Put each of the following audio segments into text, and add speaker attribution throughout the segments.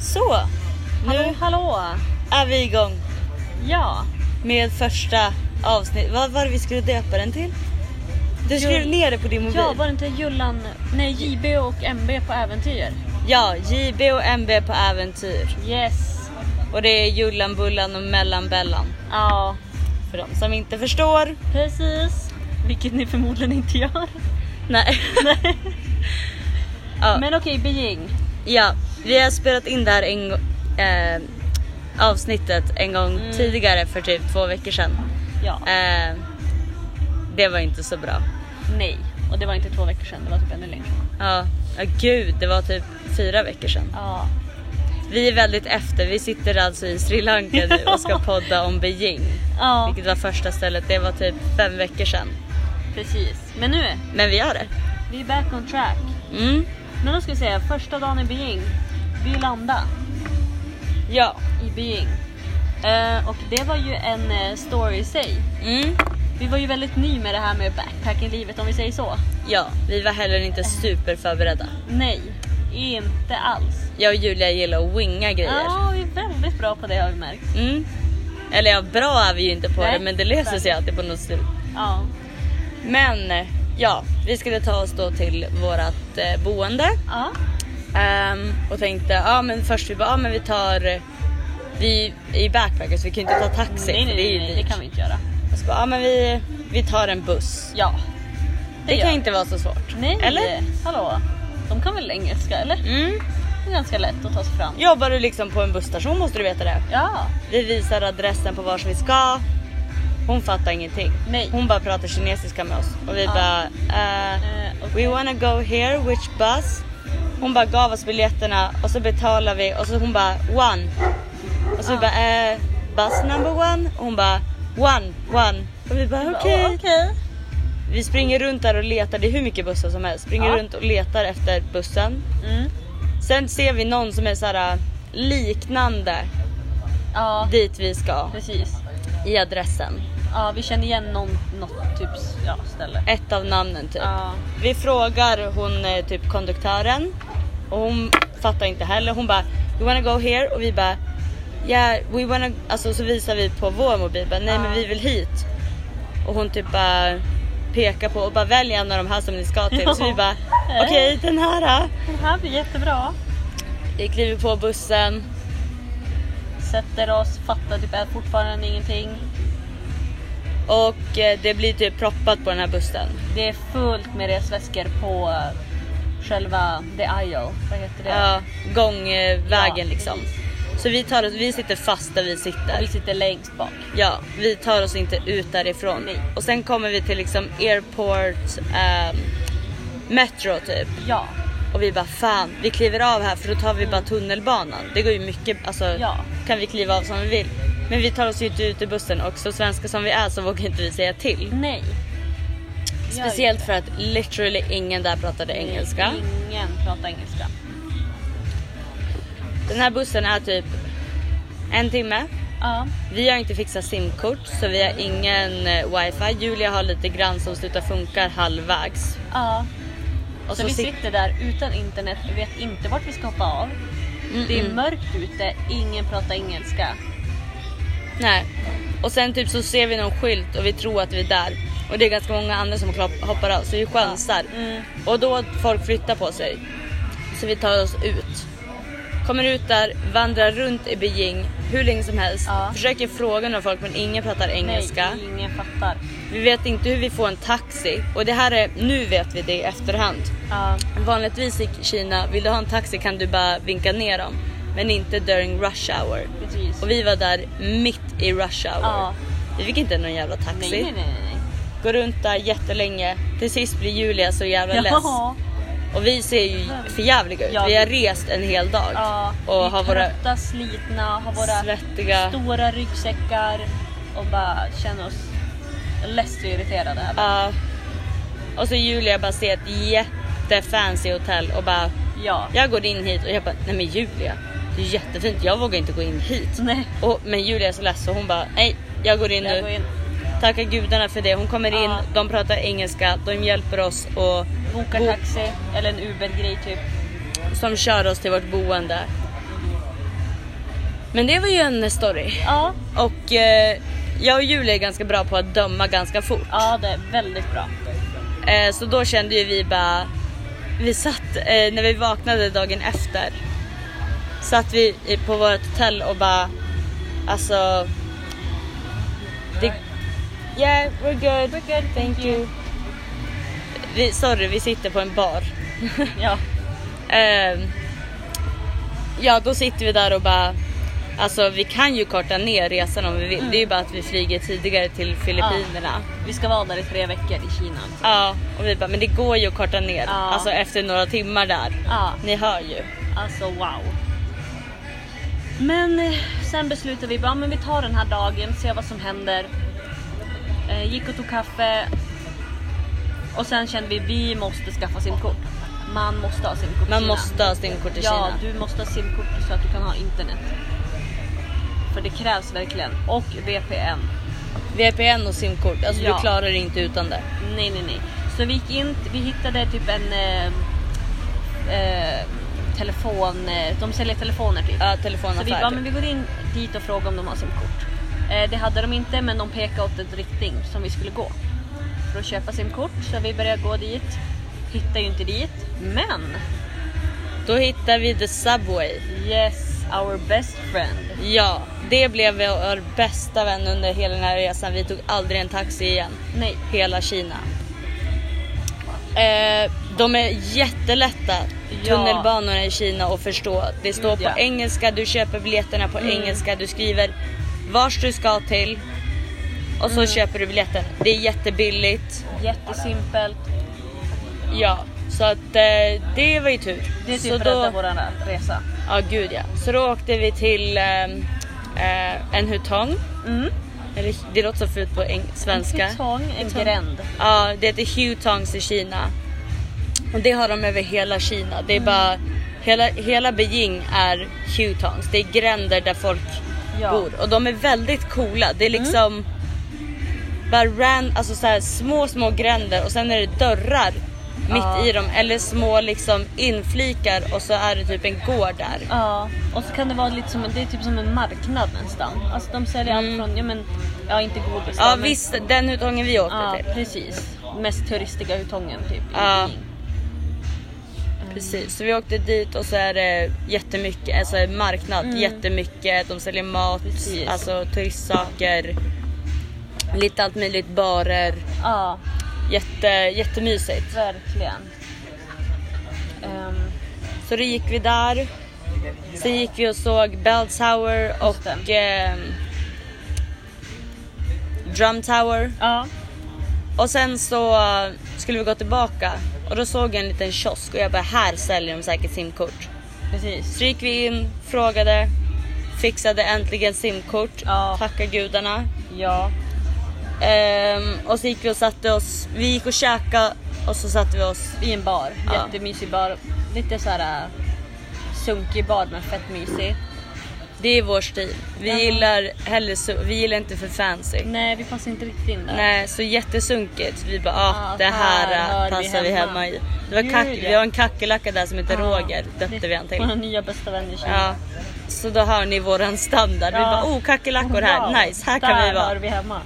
Speaker 1: Så,
Speaker 2: Hallå,
Speaker 1: nu
Speaker 2: hallå!
Speaker 1: är vi igång
Speaker 2: Ja,
Speaker 1: med första avsnitt. Vad var det vi skulle döpa den till? Du skrev
Speaker 2: Jo.
Speaker 1: ner det på din mobil.
Speaker 2: jag var inte Jullan, nej JB och MB på äventyr.
Speaker 1: Ja, JB och MB på äventyr.
Speaker 2: Yes.
Speaker 1: Och det är Jullan, Bullan och Mellanbellan.
Speaker 2: Ja,
Speaker 1: För de som inte förstår.
Speaker 2: precis. Vilket ni förmodligen inte gör.
Speaker 1: Nej. ja.
Speaker 2: Men okej, Beijing.
Speaker 1: ja, vi har spelat in det här en, gång- eh, avsnittet en gång
Speaker 2: Mm.
Speaker 1: tidigare för typ två veckor sedan.
Speaker 2: Ja,
Speaker 1: Eh, det var inte så bra.
Speaker 2: nej. Och det var inte två veckor sedan, det var typ ännu längre.
Speaker 1: Ja, ja gud det var typ fyra veckor sedan.
Speaker 2: Ja,
Speaker 1: Vi är väldigt efter, vi sitter alltså i Sri Lanka nu och ska podda om Beijing.
Speaker 2: ja
Speaker 1: Vilket var första stället, det var typ fem veckor sedan.
Speaker 2: precis. Men nu,
Speaker 1: Men vi gör det.
Speaker 2: vi är back on track.
Speaker 1: Mm.
Speaker 2: Men då ska vi säga, första dagen i Beijing. Vi landade
Speaker 1: Ja.
Speaker 2: i Beijing. Eh, och det var ju en eh, story i sig.
Speaker 1: Mm.
Speaker 2: Vi var ju väldigt ny med det här med backpacking-livet om vi säger så.
Speaker 1: Ja, vi var heller inte superförberedda.
Speaker 2: Nej, inte alls.
Speaker 1: Jag och Julia gillar att winga grejer.
Speaker 2: Ja, vi är väldigt bra på det har vi märkt.
Speaker 1: Mm. Eller ja, bra är vi ju inte på
Speaker 2: Nej.
Speaker 1: det men det löser sig alltid på något sätt.
Speaker 2: Ja,
Speaker 1: Men ja, vi skulle ta oss då till vårat eh, boende.
Speaker 2: ja,
Speaker 1: Ehm, och tänkte, ja men först vi bara, ja men vi tar... eh, Vi är ju backpackers vi kan ju inte ta taxi
Speaker 2: nej, nej,
Speaker 1: för det är
Speaker 2: nej,
Speaker 1: ju
Speaker 2: nej, det
Speaker 1: dyrt.
Speaker 2: kan vi inte göra.
Speaker 1: Och så bara, ja men vi, vi tar en buss.
Speaker 2: Ja,
Speaker 1: Det,
Speaker 2: gör
Speaker 1: kan
Speaker 2: vi.
Speaker 1: inte vara så svårt.
Speaker 2: nej,
Speaker 1: Eller?
Speaker 2: hallå. De kan väl engelska eller?
Speaker 1: Mm.
Speaker 2: Det är ganska lätt att ta sig fram.
Speaker 1: Jobbar du liksom på en busstation måste du veta det.
Speaker 2: Ja,
Speaker 1: Vi visar adressen på vars vi ska. Hon fattar ingenting.
Speaker 2: Nej.
Speaker 1: Hon bara pratar kinesiska med oss och vi
Speaker 2: Ja.
Speaker 1: bara eh,
Speaker 2: Eh, okej.
Speaker 1: We wanna go here, which bus? Hon bara gav oss biljetterna och så betalar vi och så hon bara one. Och så vi
Speaker 2: Ja.
Speaker 1: bara eh, bus number one? Och hon bara one, one. Och vi bara okej.
Speaker 2: okej.
Speaker 1: Vi springer runt där och letar, det är hur mycket bussar som helst. Springer
Speaker 2: Ja.
Speaker 1: runt och letar efter bussen.
Speaker 2: Mm.
Speaker 1: Sen ser vi någon som är så här eh, liknande
Speaker 2: Ja,
Speaker 1: dit vi ska
Speaker 2: precis.
Speaker 1: i adressen.
Speaker 2: Ja, vi känner igen någon, något typ ja, ställe.
Speaker 1: Ett av namnen typ.
Speaker 2: Ja,
Speaker 1: Vi frågar hon eh, typ konduktören och hon fattar inte heller. Hon bara “You wanna go here?” och vi bara “Yeah, we wanna...” Alltså så visar vi på vår mobil bara, “Nej
Speaker 2: Ja.
Speaker 1: men vi vill hit”. Och hon typ bara pekar på och bara “Välj en av de här som ni ska till”. Så vi bara “Okej, den här”.
Speaker 2: den här blir jättebra.
Speaker 1: Vi kliver på bussen.
Speaker 2: Sätter oss, fattar typ är fortfarande ingenting.
Speaker 1: Och eh, det blir typ proppat på den här bussen.
Speaker 2: Det är fullt med resväskor på eh, själva the aisle. Vad heter det?
Speaker 1: Ja, gångvägen
Speaker 2: Ja,
Speaker 1: liksom.
Speaker 2: precis.
Speaker 1: Så vi, tar oss, vi sitter fast där vi sitter.
Speaker 2: Och vi sitter längst bak.
Speaker 1: Ja, vi tar oss inte ut därifrån.
Speaker 2: Nej.
Speaker 1: Och sen kommer vi till liksom airport ehm, metro typ.
Speaker 2: Ja,
Speaker 1: Och vi bara fan, vi kliver av här för då tar vi bara tunnelbanan. Det går ju mycket, alltså
Speaker 2: Mm. Ja.
Speaker 1: kan vi kliva av som vi vill. Men vi tar oss ju inte ut i bussen och så svenska som vi är så vågar inte vi säga till.
Speaker 2: nej. Gör
Speaker 1: Speciellt
Speaker 2: inte.
Speaker 1: för att literally ingen där pratade engelska.
Speaker 2: Ingen pratar engelska.
Speaker 1: Den här bussen är typ en timme.
Speaker 2: Ja,
Speaker 1: Vi har inte fixat simkort så vi har ingen eh, wifi. Julia har lite grann som slutar funka halvvägs.
Speaker 2: ja.
Speaker 1: Och
Speaker 2: Så,
Speaker 1: så
Speaker 2: vi
Speaker 1: sit-
Speaker 2: sitter där utan internet, vi vet inte vart vi ska hoppa av. Det
Speaker 1: Mm,
Speaker 2: är mörkt ute, ingen pratar engelska.
Speaker 1: Nej. Och sen typ så ser vi någon skylt och vi tror att vi är där. Och det är ganska många andra som klopp- hoppar av så vi chansar.
Speaker 2: Mm.
Speaker 1: Och då att folk flyttar på sig. Så vi tar oss ut. Kommer ut där, vandrar runt i Beijing hur länge som helst.
Speaker 2: Ja.
Speaker 1: Försöker fråga några folk men ingen pratar engelska.
Speaker 2: Nej, ingen fattar.
Speaker 1: Vi vet inte hur vi får en taxi. Och det här är, nu vet vi det i efterhand.
Speaker 2: Ja,
Speaker 1: Vanligtvis i Kina, vill du ha en taxi kan du bara vinka ner dem. Men inte during rush hour.
Speaker 2: precis.
Speaker 1: Och vi var där mitt i rush hour.
Speaker 2: Ja.
Speaker 1: Vi fick inte någon jävla
Speaker 2: nej,
Speaker 1: taxi.
Speaker 2: nej, nej, nej.
Speaker 1: Går runt där jättelänge. Till sist blir Julia så jävla less.
Speaker 2: Ja,
Speaker 1: Och vi ser ju förjävliga ut.
Speaker 2: Ja.
Speaker 1: Vi har rest en hel dag.
Speaker 2: ja.
Speaker 1: Och
Speaker 2: vi
Speaker 1: har
Speaker 2: är
Speaker 1: våra
Speaker 2: trötta, slitna, har våra
Speaker 1: svettiga...
Speaker 2: stora ryggsäckar och bara känner oss less och irriterade. Ja.
Speaker 1: Ja. och så Julia bara ser ett jättefancy hotell och bara...
Speaker 2: ja.
Speaker 1: Jag går in hit och jag bara, nej men Julia. Det är jättefint, jag vågar inte gå in hit.
Speaker 2: Nej.
Speaker 1: Och, men Julia är så less så hon bara, nej jag går in nu.
Speaker 2: Jag går in,
Speaker 1: Tacka gudarna för det. Hon kommer in,
Speaker 2: Ja.
Speaker 1: de pratar engelska, de hjälper oss och
Speaker 2: bokar
Speaker 1: bo-
Speaker 2: taxi eller en Uber-grej typ.
Speaker 1: som kör oss till vårt boende. Men det var ju en story.
Speaker 2: Ja,
Speaker 1: Och eh, jag och Julia är ganska bra på att döma ganska fort.
Speaker 2: ja det är väldigt bra.
Speaker 1: Eh, så då kände ju vi bara... Vi satt, eh, när vi vaknade dagen efter, satt vi i- på vårt hotell och bara... Alltså... Det, yeah, we're good. We're good, thank you. Vi, sorry, vi sitter på en bar.
Speaker 2: Ja,
Speaker 1: Ehm, ja, då sitter vi där och bara... Alltså vi kan ju korta ner resan om vi vill. Det är ju bara att vi flyger tidigare till Filippinerna.
Speaker 2: vi ska vara där i tre veckor i Kina.
Speaker 1: Ja, och vi bara, men det går ju att korta ner.
Speaker 2: Ja.
Speaker 1: Alltså efter några timmar där.
Speaker 2: Ja,
Speaker 1: Ni hör ju.
Speaker 2: alltså wow. Men eh, sen beslutade vi bara, men vi tar den här dagen, ser vad som händer. Eh, gick och tog kaffe. Och sen kände vi, vi måste skaffa simkort. Man måste ha simkort i
Speaker 1: Man
Speaker 2: Kina.
Speaker 1: måste ha simkort i
Speaker 2: Ja,
Speaker 1: Kina.
Speaker 2: du måste ha simkort så att du kan ha internet. För det krävs verkligen. Och VPN.
Speaker 1: VPN och simkort, alltså
Speaker 2: Ja.
Speaker 1: du klarar dig inte utan det.
Speaker 2: Nej, nej, nej. Så vi gick in, vi hittade typ en eh, eh, telefon, eh, de säljer telefoner typ.
Speaker 1: Ja,
Speaker 2: så vi
Speaker 1: telefonaffär.
Speaker 2: bara, men vi går in dit och frågar om de har simkort. Eh, det hade de inte, men de pekade åt en riktning som vi skulle gå. För att köpa simkort, så vi började gå dit. Hittade ju inte dit, men
Speaker 1: Då hittar vi The Subway.
Speaker 2: yes, our best friend.
Speaker 1: Ja, det blev vår bästa vän under hela den här resan. Vi tog aldrig en taxi igen.
Speaker 2: Nej,
Speaker 1: hela Kina. Eh, de är jättelätta
Speaker 2: Ja.
Speaker 1: tunnelbanorna i Kina att förstå. Det står
Speaker 2: Gud,
Speaker 1: på
Speaker 2: ja. Mm.
Speaker 1: engelska, du köper biljetterna på engelska, du skriver vars du ska till och
Speaker 2: Mm.
Speaker 1: så köper du biljetten. Det är jättebilligt.
Speaker 2: jättesimpelt.
Speaker 1: Ja, så att eh, det var ju tur.
Speaker 2: Det är typ
Speaker 1: så
Speaker 2: rädda våran resa.
Speaker 1: ja, gud ja. Så då åkte vi till ehm, eh, en hutong.
Speaker 2: Mm.
Speaker 1: Eller, det låter så fult på eng- svenska.
Speaker 2: En hutong, en
Speaker 1: Hutong.
Speaker 2: gränd.
Speaker 1: Ja, det heter Hutongs i Kina. Och det har de över hela Kina.
Speaker 2: Mm.
Speaker 1: Det är bara, hela, hela Beijing är Hutongs. Det är gränder där folk
Speaker 2: Ja. Mm.
Speaker 1: bor. Och de är väldigt coola. Det är liksom bara ran, alltså så här, små, små gränder och sen är det dörrar
Speaker 2: Ja.
Speaker 1: mitt i dem. Eller små liksom inflikar och så är det typ en gård där.
Speaker 2: Ja, och så kan det vara lite som, en- det är typ som en marknad nästan. Alltså de säljer
Speaker 1: Mm.
Speaker 2: allt från, ja men, ja inte godis.
Speaker 1: Ja
Speaker 2: då, men,
Speaker 1: visst, den Hutongen vi åkte
Speaker 2: Ja,
Speaker 1: till.
Speaker 2: precis. Mest turistiga hutongen typ. i
Speaker 1: Ja.
Speaker 2: Beijing.
Speaker 1: Precis, så vi åkte dit och så är det jättemycket, alltså en marknad, jättemycket. De säljer mat,
Speaker 2: Precis.
Speaker 1: alltså turistsaker, lite allt möjligt, barer.
Speaker 2: Ja,
Speaker 1: Jätte, jättemysigt.
Speaker 2: verkligen. Ehm,
Speaker 1: Så då gick vi där. Sen gick vi och såg Bell Tower och ehm, Drum Tower.
Speaker 2: ja,
Speaker 1: Och sen så eh, skulle vi gå tillbaka och då såg jag en liten kiosk och jag bara här säljer de säkert simkort.
Speaker 2: precis.
Speaker 1: Så gick vi in, frågade, fixade äntligen simkort.
Speaker 2: Ja.
Speaker 1: Tacka gudarna.
Speaker 2: Ja,
Speaker 1: Ehm, och så gick vi och satte oss, vi gick och käkade och så satte vi oss.
Speaker 2: i en bar.
Speaker 1: Ja.
Speaker 2: Jättemysig bar. Lite så här äh, sunkig bar men fett mysig.
Speaker 1: Det är vår stil. Vi
Speaker 2: Ja.
Speaker 1: gillar hellre, su- vi gillar inte för fancy.
Speaker 2: Nej, vi passar inte riktigt in där.
Speaker 1: Nej, så jättesunkigt. Vi bara, ah,
Speaker 2: Ja,
Speaker 1: det här,
Speaker 2: här
Speaker 1: eh,
Speaker 2: hör vi
Speaker 1: passar vi
Speaker 2: hemma.
Speaker 1: hemma i. Det var
Speaker 2: Gud,
Speaker 1: kack-
Speaker 2: ja.
Speaker 1: vi har en kackerlacka där som heter
Speaker 2: Ja.
Speaker 1: Roger, döpte vi han till.
Speaker 2: Våra nya bästa vän i Kina.
Speaker 1: Ja. Så då hör ni våran standard. Vi
Speaker 2: Ja.
Speaker 1: bara, oh kackerlackor här,
Speaker 2: Wow,
Speaker 1: nice, här kan
Speaker 2: där
Speaker 1: vi vara.
Speaker 2: hör vi hemma.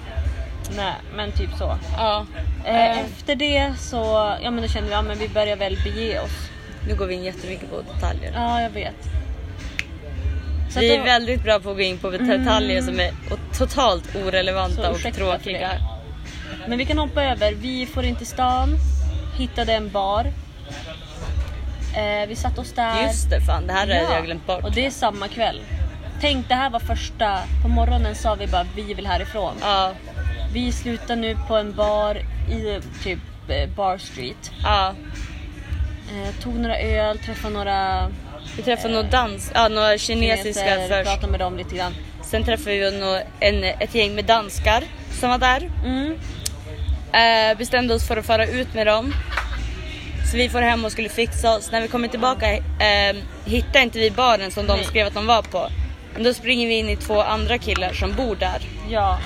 Speaker 2: Nej, men typ så.
Speaker 1: Ja.
Speaker 2: Eh,
Speaker 1: Eh,
Speaker 2: Efter det så ja, men då kände vi att ja, men vi börjar väl bege oss.
Speaker 1: Nu går vi in jättemycket på detaljer.
Speaker 2: Ja, jag vet. Så
Speaker 1: vi
Speaker 2: att
Speaker 1: är
Speaker 2: då- Mm.
Speaker 1: väldigt bra på att gå in på detaljer som är o- totalt
Speaker 2: Så
Speaker 1: orelevanta och
Speaker 2: ursäkta för
Speaker 1: tråkiga.
Speaker 2: det. Men vi kan hoppa över. Vi får inte stan. Hittade en bar. Eh, vi satt oss där.
Speaker 1: Just det, fan det här hade jag glömt bort.
Speaker 2: Och det är samma kväll. Tänk det här var första. På morgonen sa vi bara vi vill härifrån.
Speaker 1: Ja,
Speaker 2: Vi slutar nu på en bar i typ eh, Bar Street.
Speaker 1: ja.
Speaker 2: Eh, tog några öl, träffade några
Speaker 1: Vi träffade några dans, ja, några kinesiska
Speaker 2: kineser,
Speaker 1: först.
Speaker 2: pratade med dem lite grann.
Speaker 1: Sen träffade vi nå- en, ett gäng med danskar som var där.
Speaker 2: Mm.
Speaker 1: Eh, bestämde oss för att föra ut med dem. Så vi får hem och skulle fixa oss. När vi kommer tillbaka eh, hittar inte vi baren som de
Speaker 2: Nej.
Speaker 1: skrev att de var på. Men då springer vi in i två andra killar som bor där.
Speaker 2: Ja,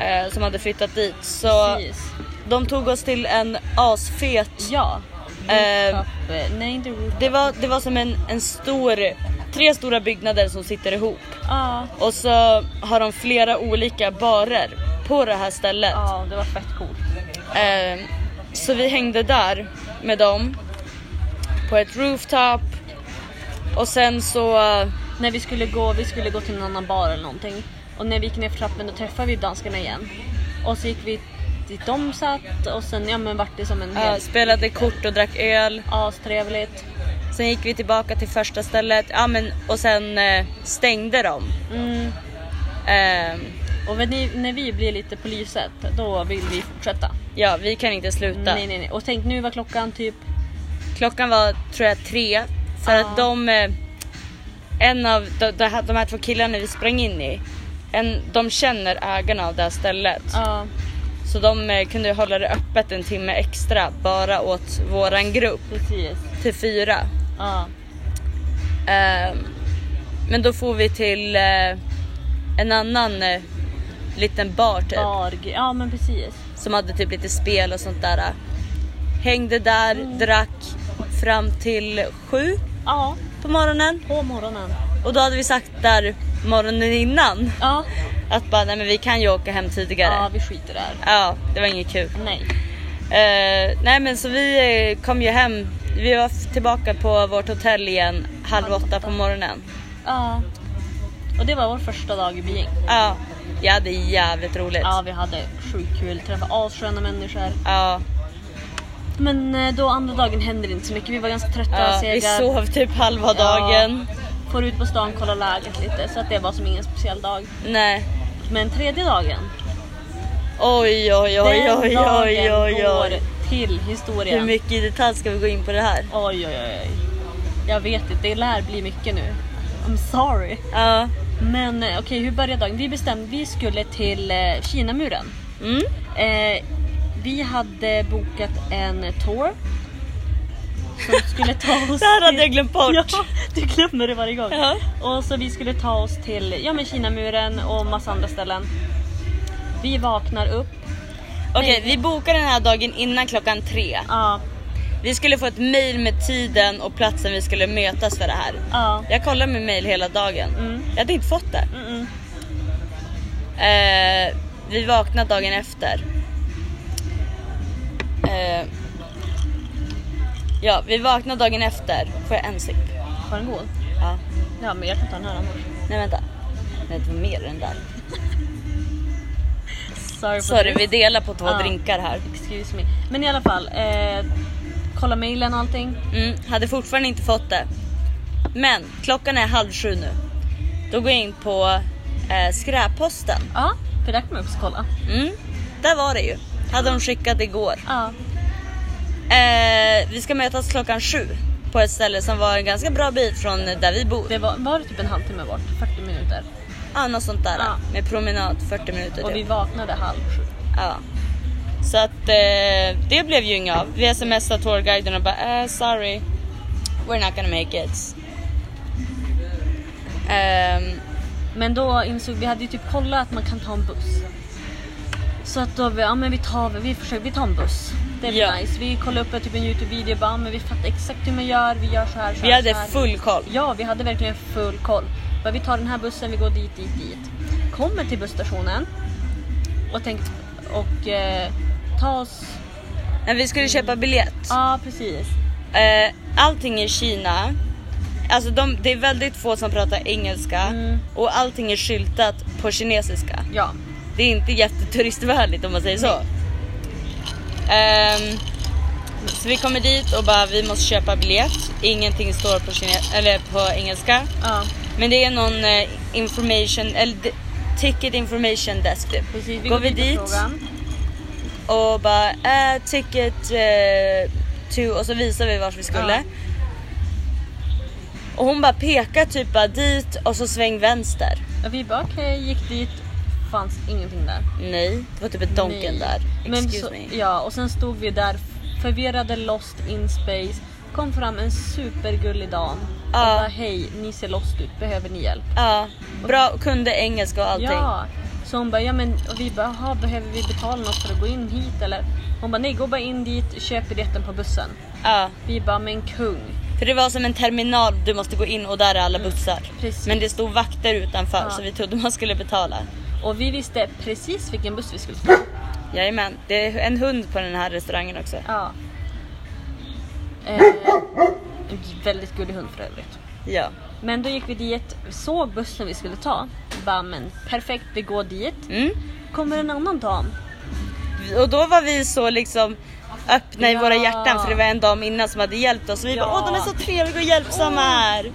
Speaker 1: Eh, som hade flyttat dit. Så
Speaker 2: precis.
Speaker 1: de tog oss till en asfet...
Speaker 2: Ja. Ehm.
Speaker 1: Eh,
Speaker 2: Rooftop, eh, nej, inte rooftop.
Speaker 1: Det var, det var som en, en stor... Tre stora byggnader som sitter ihop.
Speaker 2: Ja,
Speaker 1: Och så har de flera olika barer på det här stället.
Speaker 2: ja, det var fett coolt.
Speaker 1: Eh, så vi hängde där med dem på ett rooftop och sen så eh,
Speaker 2: När vi skulle gå, vi skulle gå till en annan bar eller någonting. Och när vi gick ner för trappen då träffade vi danskarna igen. Och så gick vi dit de satt och sen ja men vart det som en hel...
Speaker 1: spelade kort och drack öl.
Speaker 2: Astrevligt.
Speaker 1: Sen gick vi tillbaka till första stället ja, men, och sen eh, stängde de.
Speaker 2: Mm.
Speaker 1: Eh,
Speaker 2: Och när, ni, när vi blir lite på lyset då vill vi fortsätta.
Speaker 1: ja, vi kan inte sluta.
Speaker 2: Nej nej nej. Och tänk nu var klockan typ...
Speaker 1: Klockan var tror jag tre för
Speaker 2: Ja.
Speaker 1: att de, eh, en av de, de, här, de här två killarna vi sprang in i, en, de känner ägarna av det här stället.
Speaker 2: Ja,
Speaker 1: Så de eh, kunde hålla det öppet en timme extra bara åt våran grupp
Speaker 2: precis.
Speaker 1: till fyra.
Speaker 2: Ja.
Speaker 1: Ehm, men då får vi till eh, en annan eh, liten bar typ
Speaker 2: Barg. Ja men precis.
Speaker 1: som hade typ lite spel och sånt där. Hängde där,
Speaker 2: Mm.
Speaker 1: drack fram till sju
Speaker 2: Ja,
Speaker 1: på morgonen.
Speaker 2: på morgonen.
Speaker 1: Och då hade vi sagt där morgonen innan
Speaker 2: Ja.
Speaker 1: att bara nej men vi kan ju åka hem tidigare.
Speaker 2: Ja
Speaker 1: Ja,
Speaker 2: vi skiter där.
Speaker 1: det var inget kul.
Speaker 2: Nej.
Speaker 1: Eh, nej men så vi eh, kom ju hem. Vi var f- tillbaka på vårt hotell igen halv åtta på morgonen.
Speaker 2: Ja. Och det var vår första dag i Beijing.
Speaker 1: Ja, vi hade jävligt roligt.
Speaker 2: Ja, vi hade sjukt kul, träffade assköna människor.
Speaker 1: Ja,
Speaker 2: Men eh, då andra dagen hände det inte så mycket, vi var ganska trötta,
Speaker 1: ja, vi
Speaker 2: sega.
Speaker 1: sov typ halva dagen.
Speaker 2: Får ut på stan, kolla läget lite, så att det var som ingen speciell dag.
Speaker 1: Nej.
Speaker 2: Men tredje dagen,
Speaker 1: Oj oj oj
Speaker 2: den
Speaker 1: oj
Speaker 2: dagen
Speaker 1: oj oj oj.
Speaker 2: går till historien.
Speaker 1: Hur mycket i detalj ska vi gå in på det här?
Speaker 2: Oj, oj, oj, oj. Jag vet inte, det lär bli mycket nu. I'm sorry.
Speaker 1: Ja.
Speaker 2: Men eh, okej, hur började dagen? Vi bestämde, vi skulle till eh, Kinamuren.
Speaker 1: Mm.
Speaker 2: Eh, vi hade bokat en tour. Som skulle ta oss
Speaker 1: Det här hade
Speaker 2: till-
Speaker 1: jag glömt bort.
Speaker 2: Ja, du glömmer det varje gång.
Speaker 1: Ja.
Speaker 2: Och så vi skulle ta oss till ja, men Kinamuren och massa andra ställen. Vi vaknar upp.
Speaker 1: Okej, vi bokade den här dagen innan klockan tre.
Speaker 2: Ja,
Speaker 1: Vi skulle få ett mail med tiden och platsen vi skulle mötas för det här.
Speaker 2: ja.
Speaker 1: Jag kollade min mail hela dagen.
Speaker 2: Mm.
Speaker 1: Jag hade inte fått det.
Speaker 2: Mm -mm.
Speaker 1: Eh, vi vaknade dagen efter. Eh, ja, vi vaknade dagen efter. Får jag en sipp?
Speaker 2: Var den god?
Speaker 1: Ja.
Speaker 2: Ja, men jag kan ta den här annars.
Speaker 1: Nej vänta. Nej det var mer än där.
Speaker 2: Sorry, for
Speaker 1: Sorry
Speaker 2: this.
Speaker 1: vi delar på två
Speaker 2: Ja.
Speaker 1: drinkar här.
Speaker 2: Excuse me. Men i alla fall. Eh, kolla mailen och allting.
Speaker 1: Mm, hade fortfarande inte fått det. Men klockan är halv sju nu. Då går jag in på eh, skräpposten.
Speaker 2: Ja, för där kan man också kolla.
Speaker 1: Mm, där var det ju. Hade de skickat igår.
Speaker 2: Ja,
Speaker 1: Eh, vi ska mötas klockan sju på ett ställe som var en ganska bra bit från där vi bor.
Speaker 2: det var, var det typ en halvtimme bort? 40 minuter.
Speaker 1: Ja, något sånt där.
Speaker 2: Ja.
Speaker 1: Med promenad 40 minuter.
Speaker 2: Och vi
Speaker 1: typ.
Speaker 2: vaknade halv sju.
Speaker 1: Ja. Så att eh, det blev ju inget av. Vi smsade tourguiden och bara eh, sorry. We're not gonna make it. Ehm,
Speaker 2: Men då insåg vi, hade ju typ kollat att man kan ta en buss. Så att då, vi- ja men vi tar, vi försöker, vi tar en buss. Det blir
Speaker 1: Ja.
Speaker 2: nice. Vi kollade upp typ en Youtube-video och bara, ja, men vi fattar exakt hur man gör, vi gör så här, så
Speaker 1: vi
Speaker 2: här,
Speaker 1: hade
Speaker 2: så här.
Speaker 1: full koll.
Speaker 2: Ja, vi hade verkligen full koll. Bara, vi tar den här bussen, vi går dit, dit, dit. Kommer till busstationen och tänkte, och eh, ta oss,
Speaker 1: Men vi skulle köpa biljett.
Speaker 2: ja precis.
Speaker 1: Eh, allting i Kina, alltså de, det är väldigt få som pratar engelska
Speaker 2: Mm.
Speaker 1: och allting är skyltat på kinesiska.
Speaker 2: Ja,
Speaker 1: Det är inte jätteturistrevärligt om man säger så. Ehm, så vi kommer dit och bara vi måste köpa biljett. Ingenting står på, kine- eller på engelska.
Speaker 2: ja
Speaker 1: Men det är någon eh, information, eller d- ticket information desk typ.
Speaker 2: precis.
Speaker 1: Går
Speaker 2: Vi går,
Speaker 1: vi
Speaker 2: dit
Speaker 1: dit?
Speaker 2: på frågan.
Speaker 1: Och bara eh, ticket eh, to och så visar vi vart vi skulle.
Speaker 2: Ja.
Speaker 1: Och hon bara pekar typ bara dit och så sväng vänster.
Speaker 2: Och vi bara okej, gick dit, fanns ingenting där.
Speaker 1: Nej, det var typ ett donken
Speaker 2: Nej.
Speaker 1: där.
Speaker 2: Men
Speaker 1: Excuse
Speaker 2: så,
Speaker 1: me.
Speaker 2: Ja, och sen stod vi där förvirrade, lost in space. Kom fram en supergullig dam. Och
Speaker 1: Ja.
Speaker 2: bara, hej, ni ser lost ut, behöver ni hjälp?
Speaker 1: Ja, bra, kunde engelska och allting.
Speaker 2: Ja. Så hon bara, ja men och vi bara, "Jaha, behöver vi betala något för att gå in hit eller? Hon bara, nej gå bara in dit, köp biljetten på bussen.
Speaker 1: Ja.
Speaker 2: Vi bara, men kung.
Speaker 1: För det var som en terminal du måste gå in och där är alla bussar.
Speaker 2: precis.
Speaker 1: Men det stod vakter utanför
Speaker 2: Ja.
Speaker 1: så vi trodde man skulle betala.
Speaker 2: Och vi visste precis vilken buss vi skulle ta.
Speaker 1: Jajamän, det är en hund på den här restaurangen också.
Speaker 2: Ja. Eh, väldigt gullig hund för övrigt.
Speaker 1: Ja.
Speaker 2: Men då gick vi dit, såg bussen vi skulle ta. Bara men perfekt, vi går dit.
Speaker 1: Mm.
Speaker 2: Kommer en annan dam.
Speaker 1: Och då var vi så liksom öppna i
Speaker 2: Ja.
Speaker 1: våra hjärtan för det var en dam innan som hade hjälpt oss. Så vi
Speaker 2: Ja.
Speaker 1: bara åh de är så trevliga och hjälpsamma här.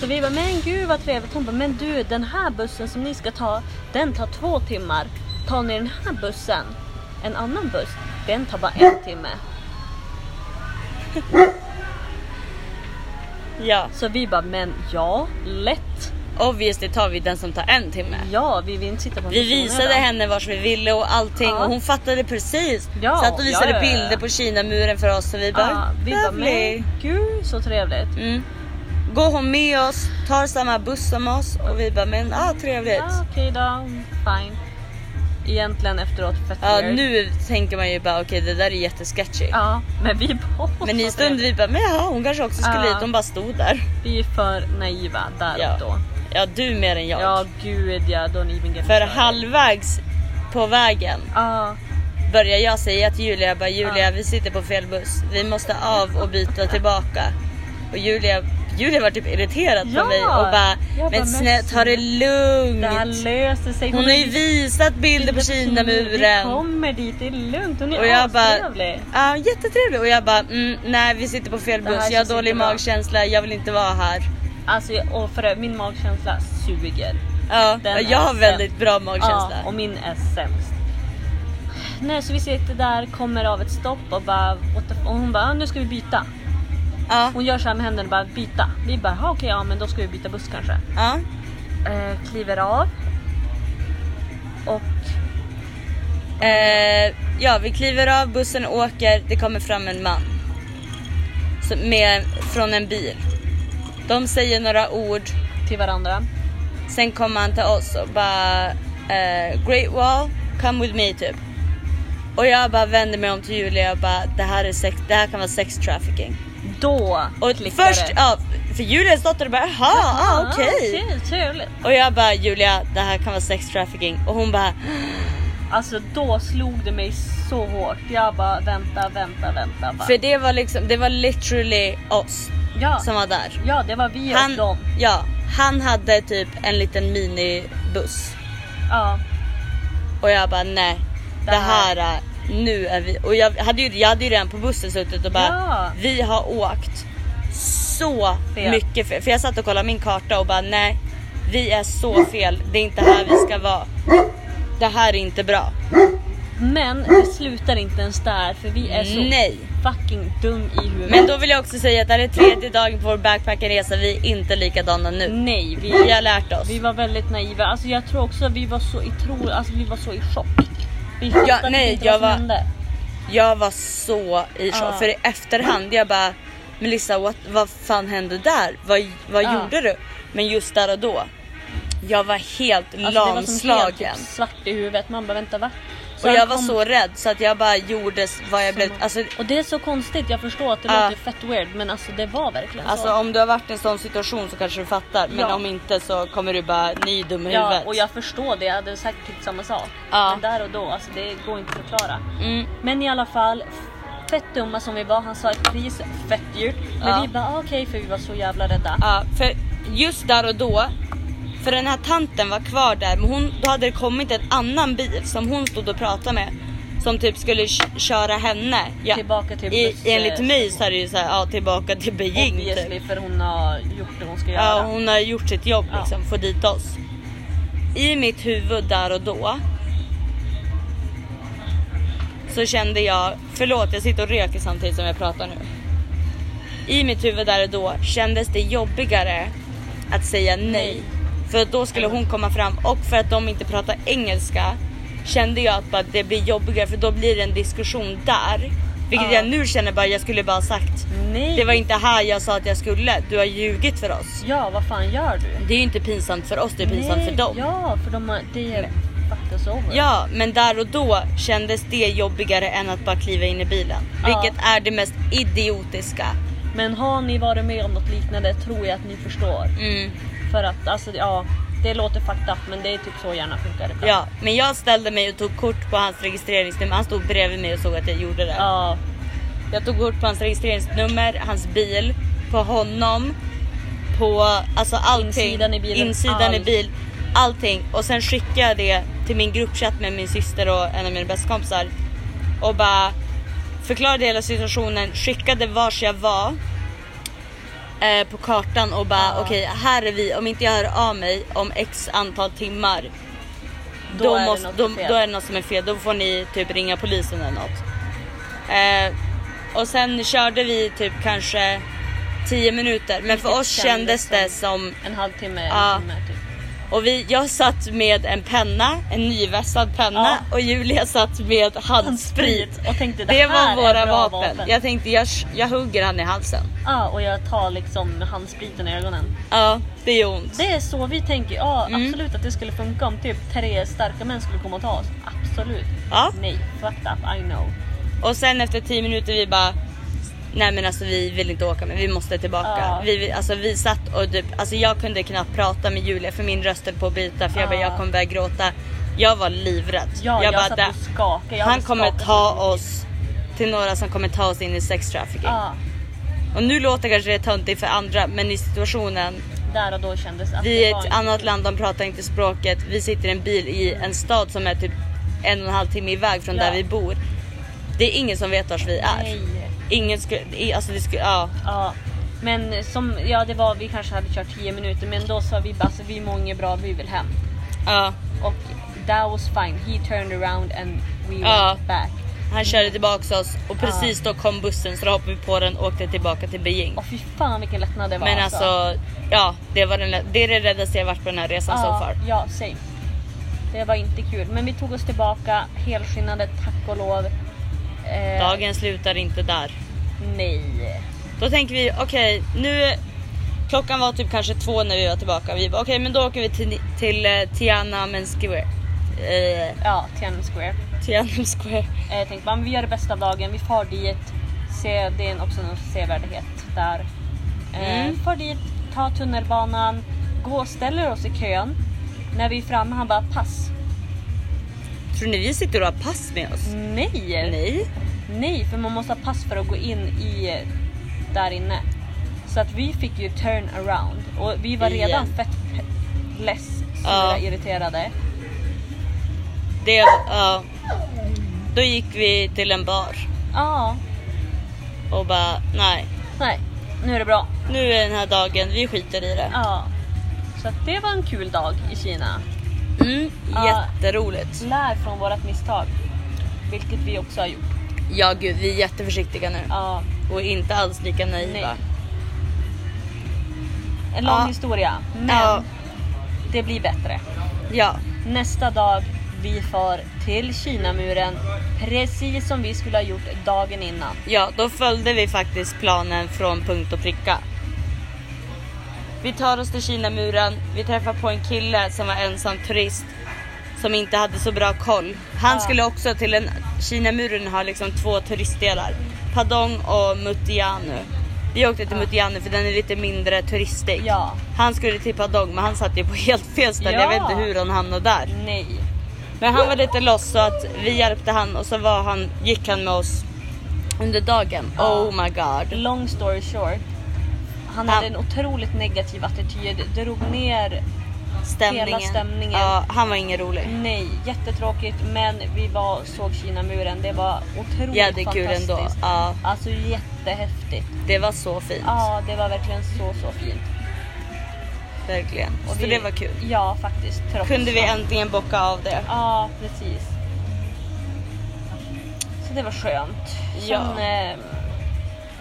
Speaker 2: Så vi bara men gud vad trevligt. Hon bara men du den här bussen som ni ska ta den tar två timmar. Tar ni den här bussen, en annan buss, den tar bara en timme.
Speaker 1: Ja,
Speaker 2: Så vi bara men ja, lätt.
Speaker 1: obviously tar vi den som tar en timme.
Speaker 2: Ja, vi vill inte sitta på en
Speaker 1: Vi
Speaker 2: buss i
Speaker 1: visade
Speaker 2: onödan.
Speaker 1: henne vars vi ville och allting
Speaker 2: Ja.
Speaker 1: och hon fattade precis.
Speaker 2: Ja,
Speaker 1: Satt och visade
Speaker 2: ja, ja, ja.
Speaker 1: bilder på Kinamuren för oss och vi bara,
Speaker 2: Ja, vi bara men
Speaker 1: "Lovely."
Speaker 2: gud så trevligt.
Speaker 1: Mm. Går hon med oss, tar samma buss som oss och vi bara men ah trevligt. Ja,
Speaker 2: Ja, okej då, fine. Egentligen efteråt fett weird.
Speaker 1: nu tänker man ju bara okej det där är jättesketchy.
Speaker 2: Ja, men vi bara...
Speaker 1: Men i stund vi bara men jaha hon kanske också skulle
Speaker 2: Ja.
Speaker 1: hit, hon bara stod där.
Speaker 2: Vi är för naiva där
Speaker 1: Ja.
Speaker 2: och då.
Speaker 1: Ja du mer än jag.
Speaker 2: Ja, gud ja. Don't even get
Speaker 1: För
Speaker 2: started.
Speaker 1: halvvägs på vägen
Speaker 2: Ja,
Speaker 1: börjar jag säga till Julia, jag bara Julia
Speaker 2: Ja.
Speaker 1: vi sitter på fel buss, vi måste av och byta tillbaka. Och Julia, Julia var typ irriterad
Speaker 2: Ja.
Speaker 1: på mig och bara men
Speaker 2: Jag bara, men
Speaker 1: snälla ta det
Speaker 2: det här
Speaker 1: lugnt.
Speaker 2: löser sig.
Speaker 1: Hon har ju visat bilder på
Speaker 2: Vi
Speaker 1: Kinamuren.
Speaker 2: kommer dit, det är lugnt. Hon är
Speaker 1: Och jag bara,
Speaker 2: astrevlig.
Speaker 1: Ja, jättetrevlig. Och jag bara, mm, nej vi sitter på fel
Speaker 2: Det här
Speaker 1: buss, jag har
Speaker 2: känns
Speaker 1: dålig
Speaker 2: inte bra.
Speaker 1: magkänsla, jag vill inte vara här.
Speaker 2: Alltså, jag- och för min magkänsla suger.
Speaker 1: Ja,
Speaker 2: Den
Speaker 1: jag har
Speaker 2: är
Speaker 1: väldigt bra magkänsla.
Speaker 2: Ja, och min är sämst. Nej, så vi sitter där, kommer av ett stopp och bara... What the f- och hon bara, "Ah, nu ska vi byta.
Speaker 1: Ja,
Speaker 2: Hon gör så här med händerna, bara byta. Vi bara, "Ah, okej, ja men då ska vi byta buss kanske.
Speaker 1: ja,
Speaker 2: Eh, kliver av. Och
Speaker 1: eh, ja, vi kliver av, bussen åker, det kommer fram en man. Så- Med, från en bil. De säger några ord,
Speaker 2: till varandra.
Speaker 1: sen kommer han till oss och bara eh, Great wall, come with me typ. Och jag bara vänder mig om till Julia och bara det här, är sex, det här kan vara sex trafficking.
Speaker 2: Då
Speaker 1: Och
Speaker 2: klickar
Speaker 1: först,
Speaker 2: det.
Speaker 1: ja, för Julia stod där och bara jaha, ah, okej.
Speaker 2: okej, trevligt.
Speaker 1: Och jag bara Julia det här kan vara sex trafficking och hon bara
Speaker 2: Alltså då slog det mig så hårt. Jag bara vänta, vänta, vänta. Bara.
Speaker 1: för det var liksom, det var literally oss
Speaker 2: ja,
Speaker 1: som var där.
Speaker 2: ja, det var vi och
Speaker 1: Han,
Speaker 2: dem.
Speaker 1: ja, han hade typ en liten minibuss
Speaker 2: Ja,
Speaker 1: och jag bara nej det
Speaker 2: Det här-
Speaker 1: här, äh, nu är vi och jag hade ju, jag hade ju redan på bussen suttit och bara
Speaker 2: Ja.
Speaker 1: vi har åkt så
Speaker 2: Fel.
Speaker 1: mycket fel. För jag satt och kollade min karta och bara nej vi är så fel, det är inte här vi ska vara. Det här är inte bra.
Speaker 2: men det slutar inte ens där för vi är så
Speaker 1: Nej.
Speaker 2: fucking dum i huvudet.
Speaker 1: Men då vill jag också säga att det här är tredje dagen på vår backpackerresa, vi är inte likadana nu.
Speaker 2: Nej, vi,
Speaker 1: Vi har lärt oss.
Speaker 2: vi var väldigt naiva. Alltså jag tror också att vi var så i tro, alltså vi var så i chock. Vi
Speaker 1: Ja,
Speaker 2: fattade
Speaker 1: nej,
Speaker 2: inte
Speaker 1: jag
Speaker 2: vad som
Speaker 1: var-
Speaker 2: hände.
Speaker 1: Jag var så i chock,
Speaker 2: Ja.
Speaker 1: för i efterhand jag bara Melissa what, vad fan hände där? Vad, vad
Speaker 2: Ja.
Speaker 1: gjorde du? Men just där och då, jag var helt
Speaker 2: Alltså, det var som helt
Speaker 1: lamslagen.
Speaker 2: typ, svart i huvudet. Man bara vänta va? Så
Speaker 1: och
Speaker 2: han
Speaker 1: jag var
Speaker 2: kom
Speaker 1: så rädd så att jag bara gjorde s- vad jag
Speaker 2: som
Speaker 1: blev.
Speaker 2: han-
Speaker 1: Alltså,
Speaker 2: Och det är så konstigt, jag förstår att det
Speaker 1: Ja.
Speaker 2: låter fett weird men alltså det var verkligen
Speaker 1: alltså
Speaker 2: så.
Speaker 1: om du har varit i en sån situation så kanske du fattar. Men
Speaker 2: Ja.
Speaker 1: om inte så kommer du bara, ni är dumma i
Speaker 2: Ja,
Speaker 1: huvudet.
Speaker 2: och jag förstår det, jag hade säkert tyckt samma sak.
Speaker 1: Ja.
Speaker 2: Men där och då, alltså det går inte att förklara.
Speaker 1: mm.
Speaker 2: Men i alla fall, fett dumma som vi var, han sa ett pris, fett dyrt. Men
Speaker 1: Ja.
Speaker 2: vi bara ah, okej för vi var så jävla rädda.
Speaker 1: Ja, för just där och då, för den här tanten var kvar där, men hon, då hade det kommit en annan bil som hon stod och pratade med. Som typ skulle k- köra henne. Ja.
Speaker 2: Tillbaka till
Speaker 1: I,
Speaker 2: buss-
Speaker 1: Enligt mig så är det ju såhär, ja tillbaka till Beijing
Speaker 2: Obviously
Speaker 1: typ.
Speaker 2: för hon har gjort det hon ska göra.
Speaker 1: Ja, hon har gjort sitt jobb
Speaker 2: Ja.
Speaker 1: liksom, få dit oss. I mitt huvud där och då. Så kände jag, förlåt jag sitter och röker samtidigt som jag pratar nu. I mitt huvud där och då kändes det jobbigare att säga nej. För att då skulle hon komma fram och för att de inte pratar engelska kände jag att bara, det blir jobbigare för då blir det en diskussion där. Vilket
Speaker 2: Ja. Mm.
Speaker 1: jag nu känner bara jag skulle bara ha sagt.
Speaker 2: Nej!
Speaker 1: Det var inte här jag sa att jag skulle. Du har ljugit för oss.
Speaker 2: Ja, vad fan gör du?
Speaker 1: Det är ju inte pinsamt för oss, det är pinsamt
Speaker 2: Nej,
Speaker 1: för dem. Ja.
Speaker 2: Ja, för de har, det är fucked us over.
Speaker 1: men där och då kändes det jobbigare än att bara kliva in i bilen.
Speaker 2: Ja.
Speaker 1: Vilket är det mest idiotiska
Speaker 2: Men har ni varit med om något liknande tror jag att ni förstår.
Speaker 1: Mm.
Speaker 2: För att alltså ja, det låter fucked up men det är typ så hjärnan funkar ibland.
Speaker 1: Ja, men jag ställde mig och tog kort på hans registreringsnummer. Han stod bredvid mig och såg att jag gjorde det.
Speaker 2: ja.
Speaker 1: Jag tog kort på hans registreringsnummer, hans bil, på honom, på alltså allting.
Speaker 2: Insidan i bilen,
Speaker 1: Insidan i
Speaker 2: allt.
Speaker 1: bil, allting. Och sen skickade jag det till min gruppchatt med min syster och en av mina bästa kompisar. Och bara förklarade hela situationen, skickade vars jag var eh, på kartan och bara
Speaker 2: Ja.
Speaker 1: okej här är vi, om inte jag hör av mig om x antal timmar
Speaker 2: Då
Speaker 1: då,
Speaker 2: är det
Speaker 1: måste,
Speaker 2: något
Speaker 1: då,
Speaker 2: fel.
Speaker 1: då är det något som är fel. Då får ni typ ringa polisen eller något. Eh, och sen körde vi typ kanske 10 minuter. Men för
Speaker 2: Vilket
Speaker 1: oss kändes det som...
Speaker 2: En halvtimme, en
Speaker 1: Ja.
Speaker 2: timme typ.
Speaker 1: Och vi, jag satt med en penna, en nyvässad penna
Speaker 2: Ja.
Speaker 1: och Julia satt med handsprit.
Speaker 2: Och tänkte det,
Speaker 1: Det
Speaker 2: här
Speaker 1: var våra
Speaker 2: är bra
Speaker 1: vapen.
Speaker 2: vapen.
Speaker 1: Jag tänkte jag, jag hugger han i halsen.
Speaker 2: Ja, och jag tar liksom handspriten i ögonen.
Speaker 1: Ja, det gör ont.
Speaker 2: Det är så vi tänker. Ja,
Speaker 1: Mm.
Speaker 2: absolut att det skulle funka om typ tre starka män skulle komma och ta oss. Absolut.
Speaker 1: Ja.
Speaker 2: Nej, fucked up, I know.
Speaker 1: Och sen efter 10 minuter vi bara Nej men alltså vi vill inte åka men vi måste tillbaka.
Speaker 2: Ja.
Speaker 1: Vi, vi- alltså, vi satt och typ, alltså jag kunde knappt prata med Julia för min röst höll på att bita för jag bara
Speaker 2: Ja.
Speaker 1: jag kommer börja gråta. Jag var livrädd.
Speaker 2: Ja, jag,
Speaker 1: bara,
Speaker 2: satt
Speaker 1: "Där-
Speaker 2: och skakade. Jag
Speaker 1: han
Speaker 2: hade
Speaker 1: kommer
Speaker 2: skakat
Speaker 1: ta
Speaker 2: så mycket.
Speaker 1: oss till några som kommer ta oss in i sex trafficking.
Speaker 2: Ja,
Speaker 1: Och nu låter kanske det töntigt för andra men i situationen,
Speaker 2: där och då kändes att
Speaker 1: vi är
Speaker 2: det
Speaker 1: i
Speaker 2: var
Speaker 1: ett
Speaker 2: inte-
Speaker 1: annat land, de pratar inte språket. Vi sitter i en bil i en stad som är typ en och en halv timme iväg från
Speaker 2: Ja.
Speaker 1: där vi bor. Det är ingen som vet vars vi är.
Speaker 2: Nej.
Speaker 1: Ingen skulle, i- alltså det skulle, ja.
Speaker 2: Ja. Men som, ja det var, vi kanske hade kört 10 minuter men då sa vi bara alltså, vi mår inget bra, vi vill hem.
Speaker 1: ja.
Speaker 2: Och that was fine. He turned around and we
Speaker 1: Ja.
Speaker 2: went back.
Speaker 1: Han körde tillbaka oss och precis då kom bussen så då hoppade vi på den och åkte tillbaka till Beijing.
Speaker 2: Och fy fan vilken lättnad det var.
Speaker 1: Men alltså, ja det, var den, det är det räddaste jag varit på den här resan so alltså, far.
Speaker 2: Ja, same. Det var inte kul. Men vi tog oss tillbaka helskinnade, tack och lov. Eh,
Speaker 1: Dagen slutar inte där.
Speaker 2: Nej.
Speaker 1: Då tänker vi, okej nu, klockan var typ kanske två när vi var tillbaka. Vi bara okej men då åker vi till, till eh, Tiananmen Square. Eh,
Speaker 2: Ja, Tiananmen Square.
Speaker 1: Tiananmen Square.
Speaker 2: Eh, jag tänkte bara, men vi gör det bästa av dagen. Vi far dit. Se, det är också en sevärdhet där. Eh,
Speaker 1: Mm.
Speaker 2: Far dit, tar tunnelbanan, går och ställer oss i kön. När vi är framme, han bara pass.
Speaker 1: Tror ni vi sitter och har pass med oss?
Speaker 2: Nej!
Speaker 1: Nej.
Speaker 2: Nej, för man måste ha pass för att gå in i där inne. Så att vi fick ju turn around och vi var
Speaker 1: Igen.
Speaker 2: redan fett pe- less, sura,
Speaker 1: Ja.
Speaker 2: irriterade.
Speaker 1: Det, ja. Då gick vi till en bar
Speaker 2: Ja,
Speaker 1: och bara nej.
Speaker 2: nej, nu är det bra.
Speaker 1: Nu är den här dagen, vi skiter i det.
Speaker 2: Ja. Så att det var en kul dag i Kina.
Speaker 1: Mm,
Speaker 2: Ja.
Speaker 1: jätteroligt.
Speaker 2: Lär från vårat misstag, vilket vi också har gjort.
Speaker 1: Ja gud, vi är jätteförsiktiga nu.
Speaker 2: Ja,
Speaker 1: Och inte alls lika naiva.
Speaker 2: Nej. en lång
Speaker 1: Ja.
Speaker 2: historia, men
Speaker 1: Ja.
Speaker 2: det blir bättre.
Speaker 1: Ja.
Speaker 2: Nästa dag, vi far till Kinamuren precis som vi skulle ha gjort dagen innan.
Speaker 1: ja, då följde vi faktiskt planen från punkt och pricka. Vi tar oss till Kinamuren, vi träffar på en kille som var ensam turist som inte hade så bra koll. Han
Speaker 2: Ja.
Speaker 1: skulle också till en... Kinamuren har liksom två turistdelar. Padong och Mutianu. Vi åkte till Mutianu för den är lite mindre turistig.
Speaker 2: Ja.
Speaker 1: Han skulle till Padong men han satt ju på helt fel ställe. Jag
Speaker 2: Ja.
Speaker 1: vet inte hur han hamnade där.
Speaker 2: Nej.
Speaker 1: Men han var lite loss så att vi hjälpte han och så var han, gick han med oss under dagen.
Speaker 2: Ja.
Speaker 1: Oh my god.
Speaker 2: Long story short. Han
Speaker 1: Ja.
Speaker 2: hade en otroligt negativ attityd. Drog ner.
Speaker 1: Stämningen.
Speaker 2: Hela stämningen.
Speaker 1: Ja, han var ingen rolig.
Speaker 2: Nej, jättetråkigt. Men vi var, såg Kinamuren. Det var otroligt
Speaker 1: Jättekul
Speaker 2: fantastiskt.
Speaker 1: ändå. Ja,
Speaker 2: Alltså jättehäftigt.
Speaker 1: det var så fint.
Speaker 2: Ja, det var verkligen så, så fint.
Speaker 1: Verkligen.
Speaker 2: Och
Speaker 1: Så
Speaker 2: vi-
Speaker 1: det var kul.
Speaker 2: Ja, faktiskt. Trots
Speaker 1: Kunde vi
Speaker 2: allt.
Speaker 1: äntligen bocka av det.
Speaker 2: Ja, precis. Så det var skönt.
Speaker 1: Ja.
Speaker 2: Sen, eh,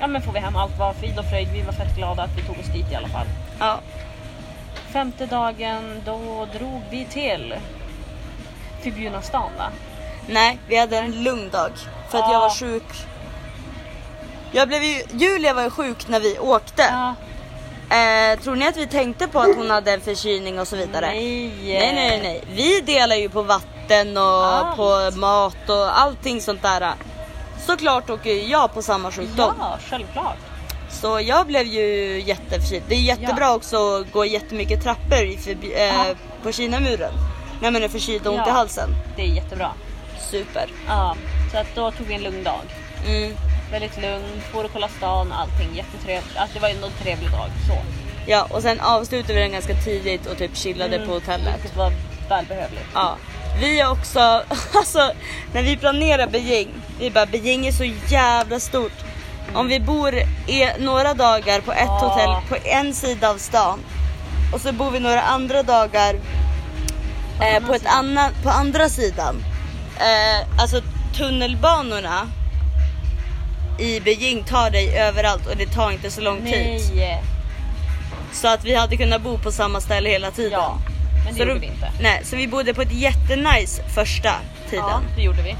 Speaker 2: ja, men får vi hem allt var frid och fröjd. Vi var fett glada att vi tog oss dit i alla fall.
Speaker 1: Ja.
Speaker 2: Femte dagen, då drog vi till förbjudna stan va?
Speaker 1: Nej, vi hade en lugn dag. För att
Speaker 2: Ja.
Speaker 1: jag var sjuk. Jag blev ju, Julia var ju sjuk när vi åkte.
Speaker 2: Ja.
Speaker 1: Eh, tror ni att vi tänkte på att hon hade en förkylning och så vidare?
Speaker 2: Nej.
Speaker 1: Nej, nej, nej. Vi delar ju på vatten och
Speaker 2: Allt.
Speaker 1: på mat och allting sånt där. Såklart åker ju jag på samma sjukdom.
Speaker 2: Ja, självklart.
Speaker 1: Så jag blev ju jätteförkyld. Det är jättebra också att gå jättemycket trappor i förbi, eh,
Speaker 2: Ja.
Speaker 1: på Kinamuren. När man är förkyld och ont
Speaker 2: Ja.
Speaker 1: i halsen.
Speaker 2: Det är jättebra.
Speaker 1: Super.
Speaker 2: Ja, så att då tog vi en lugn dag.
Speaker 1: Mm.
Speaker 2: Väldigt lugn, får och kolla stan och allting. Jättetrevligt. Alltså det var ändå en trevlig dag. Så.
Speaker 1: Ja, och sen avslutade vi den ganska tidigt och typ chillade
Speaker 2: Mm.
Speaker 1: på hotellet.
Speaker 2: Vilket var välbehövligt.
Speaker 1: Ja. Vi har också, alltså när vi planerar Beijing, vi bara Beijing är så jävla stort. Om vi bor i några dagar på ett
Speaker 2: Ja.
Speaker 1: hotell på en sida av stan och så bor vi några andra dagar eh, på, ett annan, på andra sidan. Eh, alltså tunnelbanorna i Beijing tar dig överallt och det tar inte så lång tid.
Speaker 2: Nej!
Speaker 1: Så att vi hade kunnat bo på samma ställe hela tiden.
Speaker 2: Ja, men det
Speaker 1: Så
Speaker 2: gjorde
Speaker 1: då-
Speaker 2: vi inte.
Speaker 1: Nej, så vi bodde på ett jättenice första tiden.
Speaker 2: Ja, det gjorde vi.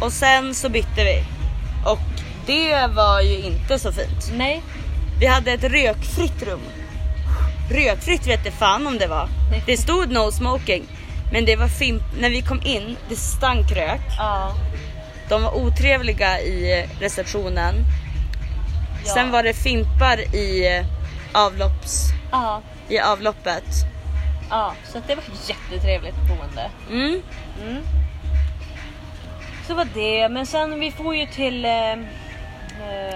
Speaker 1: Och sen så bytte vi. Och det var ju inte så fint.
Speaker 2: Nej,
Speaker 1: Vi hade ett rökfritt rum. Rökfritt vet jag fan om det var. Det stod no smoking. Men det var fint. När vi kom in, det stank rök.
Speaker 2: ja.
Speaker 1: De var otrevliga i receptionen.
Speaker 2: Ja.
Speaker 1: Sen var det fimpar i, avlopps,
Speaker 2: ja.
Speaker 1: i avloppet.
Speaker 2: Ja, så att det var jättetrevligt boende.
Speaker 1: Mm.
Speaker 2: Mm. Så var det, men sen vi får ju till... Eh, eh,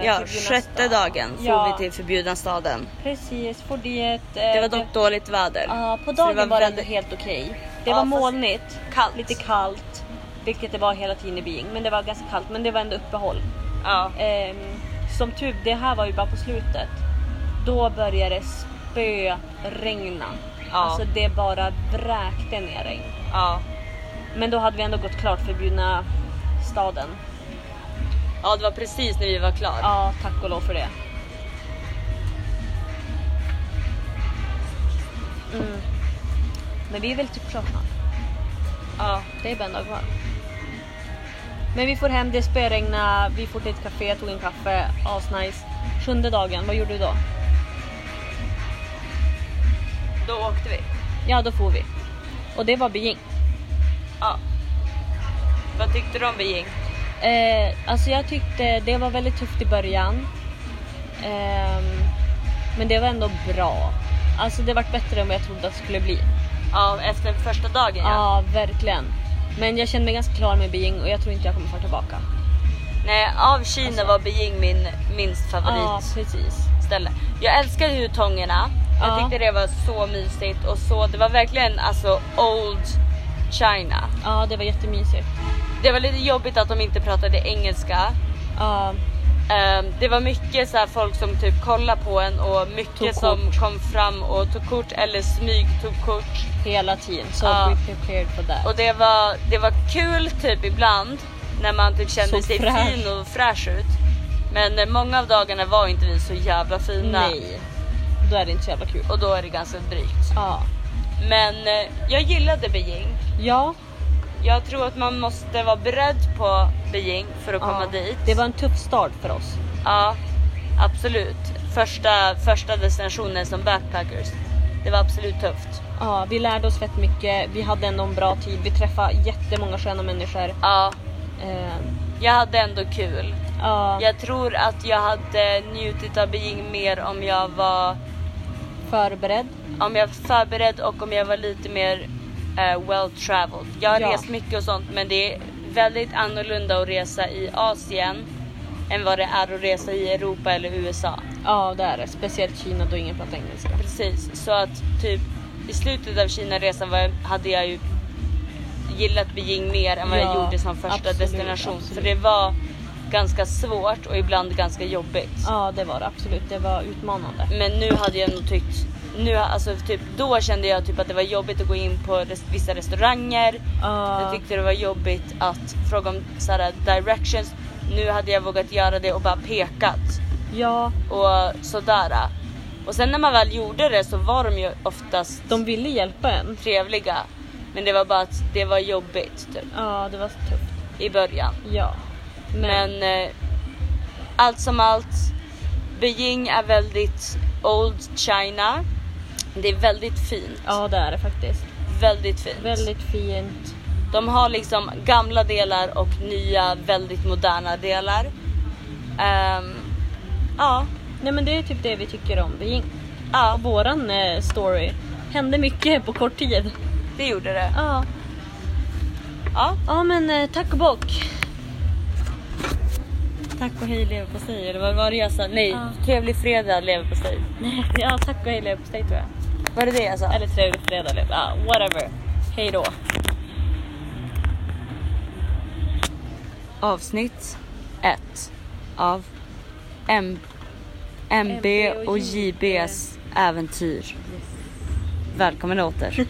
Speaker 1: Ja,
Speaker 2: förbjudna
Speaker 1: sjätte
Speaker 2: stan.
Speaker 1: dagen for
Speaker 2: ja,
Speaker 1: vi till förbjudna staden.
Speaker 2: Precis, för det... eh,
Speaker 1: Det var dock dåligt väder.
Speaker 2: Ja, på
Speaker 1: Så
Speaker 2: dagen var, det
Speaker 1: väldigt-
Speaker 2: helt okej. Det
Speaker 1: Ja,
Speaker 2: var
Speaker 1: fast-
Speaker 2: molnigt,
Speaker 1: Kallt.
Speaker 2: lite kallt, vilket det var hela tiden i Beijing. Men det var ganska kallt, men det var ändå uppehåll.
Speaker 1: Ja.
Speaker 2: Ehm, som tur, det här var ju bara på slutet. Då började det spöregna.
Speaker 1: Ja.
Speaker 2: Alltså det bara vräkte ner regn.
Speaker 1: Ja.
Speaker 2: Men då hade vi ändå gått klart förbjudna staden.
Speaker 1: ja, det var precis när vi var klara.
Speaker 2: Ja, tack och lov för det. Mm. Men vi är väl typ klara snart.
Speaker 1: Ja.
Speaker 2: Det är bara en dag kvar. Men vi får hem, det spöregna, vi får till ett café, tog en kaffe, asnice. Sjunde dagen, vad gjorde du då?
Speaker 1: Då åkte vi.
Speaker 2: Ja, då får vi. Och det var Beijing.
Speaker 1: Ja. Vad tyckte du om Beijing?
Speaker 2: Eh, alltså jag tyckte det var väldigt tufft i början. Ehm, men det var ändå bra. Alltså det vart bättre än vad jag trodde att det skulle bli.
Speaker 1: Ja, efter första dagen
Speaker 2: Ja,
Speaker 1: ja.
Speaker 2: verkligen. Men jag kände mig ganska klar med Beijing och jag tror inte jag kommer få tillbaka.
Speaker 1: Nej, av Kina var Beijing min minst
Speaker 2: Ja,
Speaker 1: favoritställe.
Speaker 2: precis.
Speaker 1: Jag älskade hutongerna. Jag
Speaker 2: Ja.
Speaker 1: tyckte det var så mysigt och så, det var verkligen alltså old China.
Speaker 2: Ja, det var jättemysigt.
Speaker 1: Det var lite jobbigt att de inte pratade engelska.
Speaker 2: Ja,
Speaker 1: Ehm, det var mycket så här folk som typ kollade på en och mycket
Speaker 2: Tog
Speaker 1: som
Speaker 2: kort.
Speaker 1: kom fram och tog kort eller smyg tog kort.
Speaker 2: hela tiden. Så
Speaker 1: Ja.
Speaker 2: be prepared for that.
Speaker 1: Och det var, det var kul typ ibland när man typ kände
Speaker 2: Så
Speaker 1: sig
Speaker 2: fräsch.
Speaker 1: fin och fräsch ut. Men eh, många av dagarna var inte vi så jävla fina
Speaker 2: Nej. Då är det inte så jävla kul.
Speaker 1: och då är det ganska drygt.
Speaker 2: Ja.
Speaker 1: Men eh, jag gillade Beijing.
Speaker 2: Ja.
Speaker 1: Jag tror att man måste vara beredd på Beijing för att komma
Speaker 2: ja.
Speaker 1: dit.
Speaker 2: Det var en tuff start för oss.
Speaker 1: Ja, absolut. Första, första destinationen som backpackers. Det var absolut tufft.
Speaker 2: Ja, vi lärde oss fett mycket. Vi hade ändå en bra tid. Vi träffade jättemånga sköna människor.
Speaker 1: Ja,
Speaker 2: Eh,
Speaker 1: jag hade ändå kul.
Speaker 2: ja,
Speaker 1: Jag tror att jag hade njutit av Beijing mer om jag var
Speaker 2: förberedd.
Speaker 1: om jag var förberedd och om jag var lite mer eh, well traveled. Jag har
Speaker 2: Ja.
Speaker 1: rest mycket och sånt men det är väldigt annorlunda att resa i Asien än vad det är att resa i Europa eller USA.
Speaker 2: Ja, det är det. Speciellt Kina då ingen pratar engelska.
Speaker 1: Precis, så att typ i slutet av Kina-resan var, hade jag ju gillat Beijing mer än vad jag
Speaker 2: Ja,
Speaker 1: gjorde som första
Speaker 2: absolut,
Speaker 1: destination. För
Speaker 2: absolut.
Speaker 1: det var ganska svårt och ibland ganska jobbigt.
Speaker 2: Ja, det var det absolut. Det var utmanande.
Speaker 1: Men nu hade jag nog tyckt... Nu, alltså, typ, då kände jag typ att det var jobbigt att gå in på res- vissa restauranger. Jag
Speaker 2: Ja,
Speaker 1: tyckte det var jobbigt att fråga om så här, directions. Nu hade jag vågat göra det och bara pekat
Speaker 2: ja,
Speaker 1: och sådär. Och sen när man väl gjorde det så var de ju oftast
Speaker 2: de ville hjälpa en.
Speaker 1: trevliga. Men det var bara att det var jobbigt typ,
Speaker 2: Ja, det var tufft.
Speaker 1: i början.
Speaker 2: Ja. Men,
Speaker 1: Men eh, allt som allt, Beijing är väldigt old China. Det är väldigt fint.
Speaker 2: ja, det är det faktiskt.
Speaker 1: Väldigt fint.
Speaker 2: Väldigt fint.
Speaker 1: De har liksom gamla delar och nya väldigt moderna delar. Ehm, ja,
Speaker 2: Nej men det är typ det vi tycker om beijing.
Speaker 1: Ja,
Speaker 2: Och våran eh, story hände mycket på kort tid.
Speaker 1: det gjorde det.
Speaker 2: Ja,
Speaker 1: Ja,
Speaker 2: ja men eh, tack och bock.
Speaker 1: tack och hej leverpastej eller vad var det jag sa? Nej,
Speaker 2: Ja.
Speaker 1: trevlig fredag leverpastej.
Speaker 2: Nej, ja tack och hej leverpastej tror jag.
Speaker 1: Var det det jag sa?
Speaker 2: Eller trevlig fredag eller ja, whatever. Hej då.
Speaker 1: Avsnitt 1 av M- MB och JBs äventyr. Välkommen åter.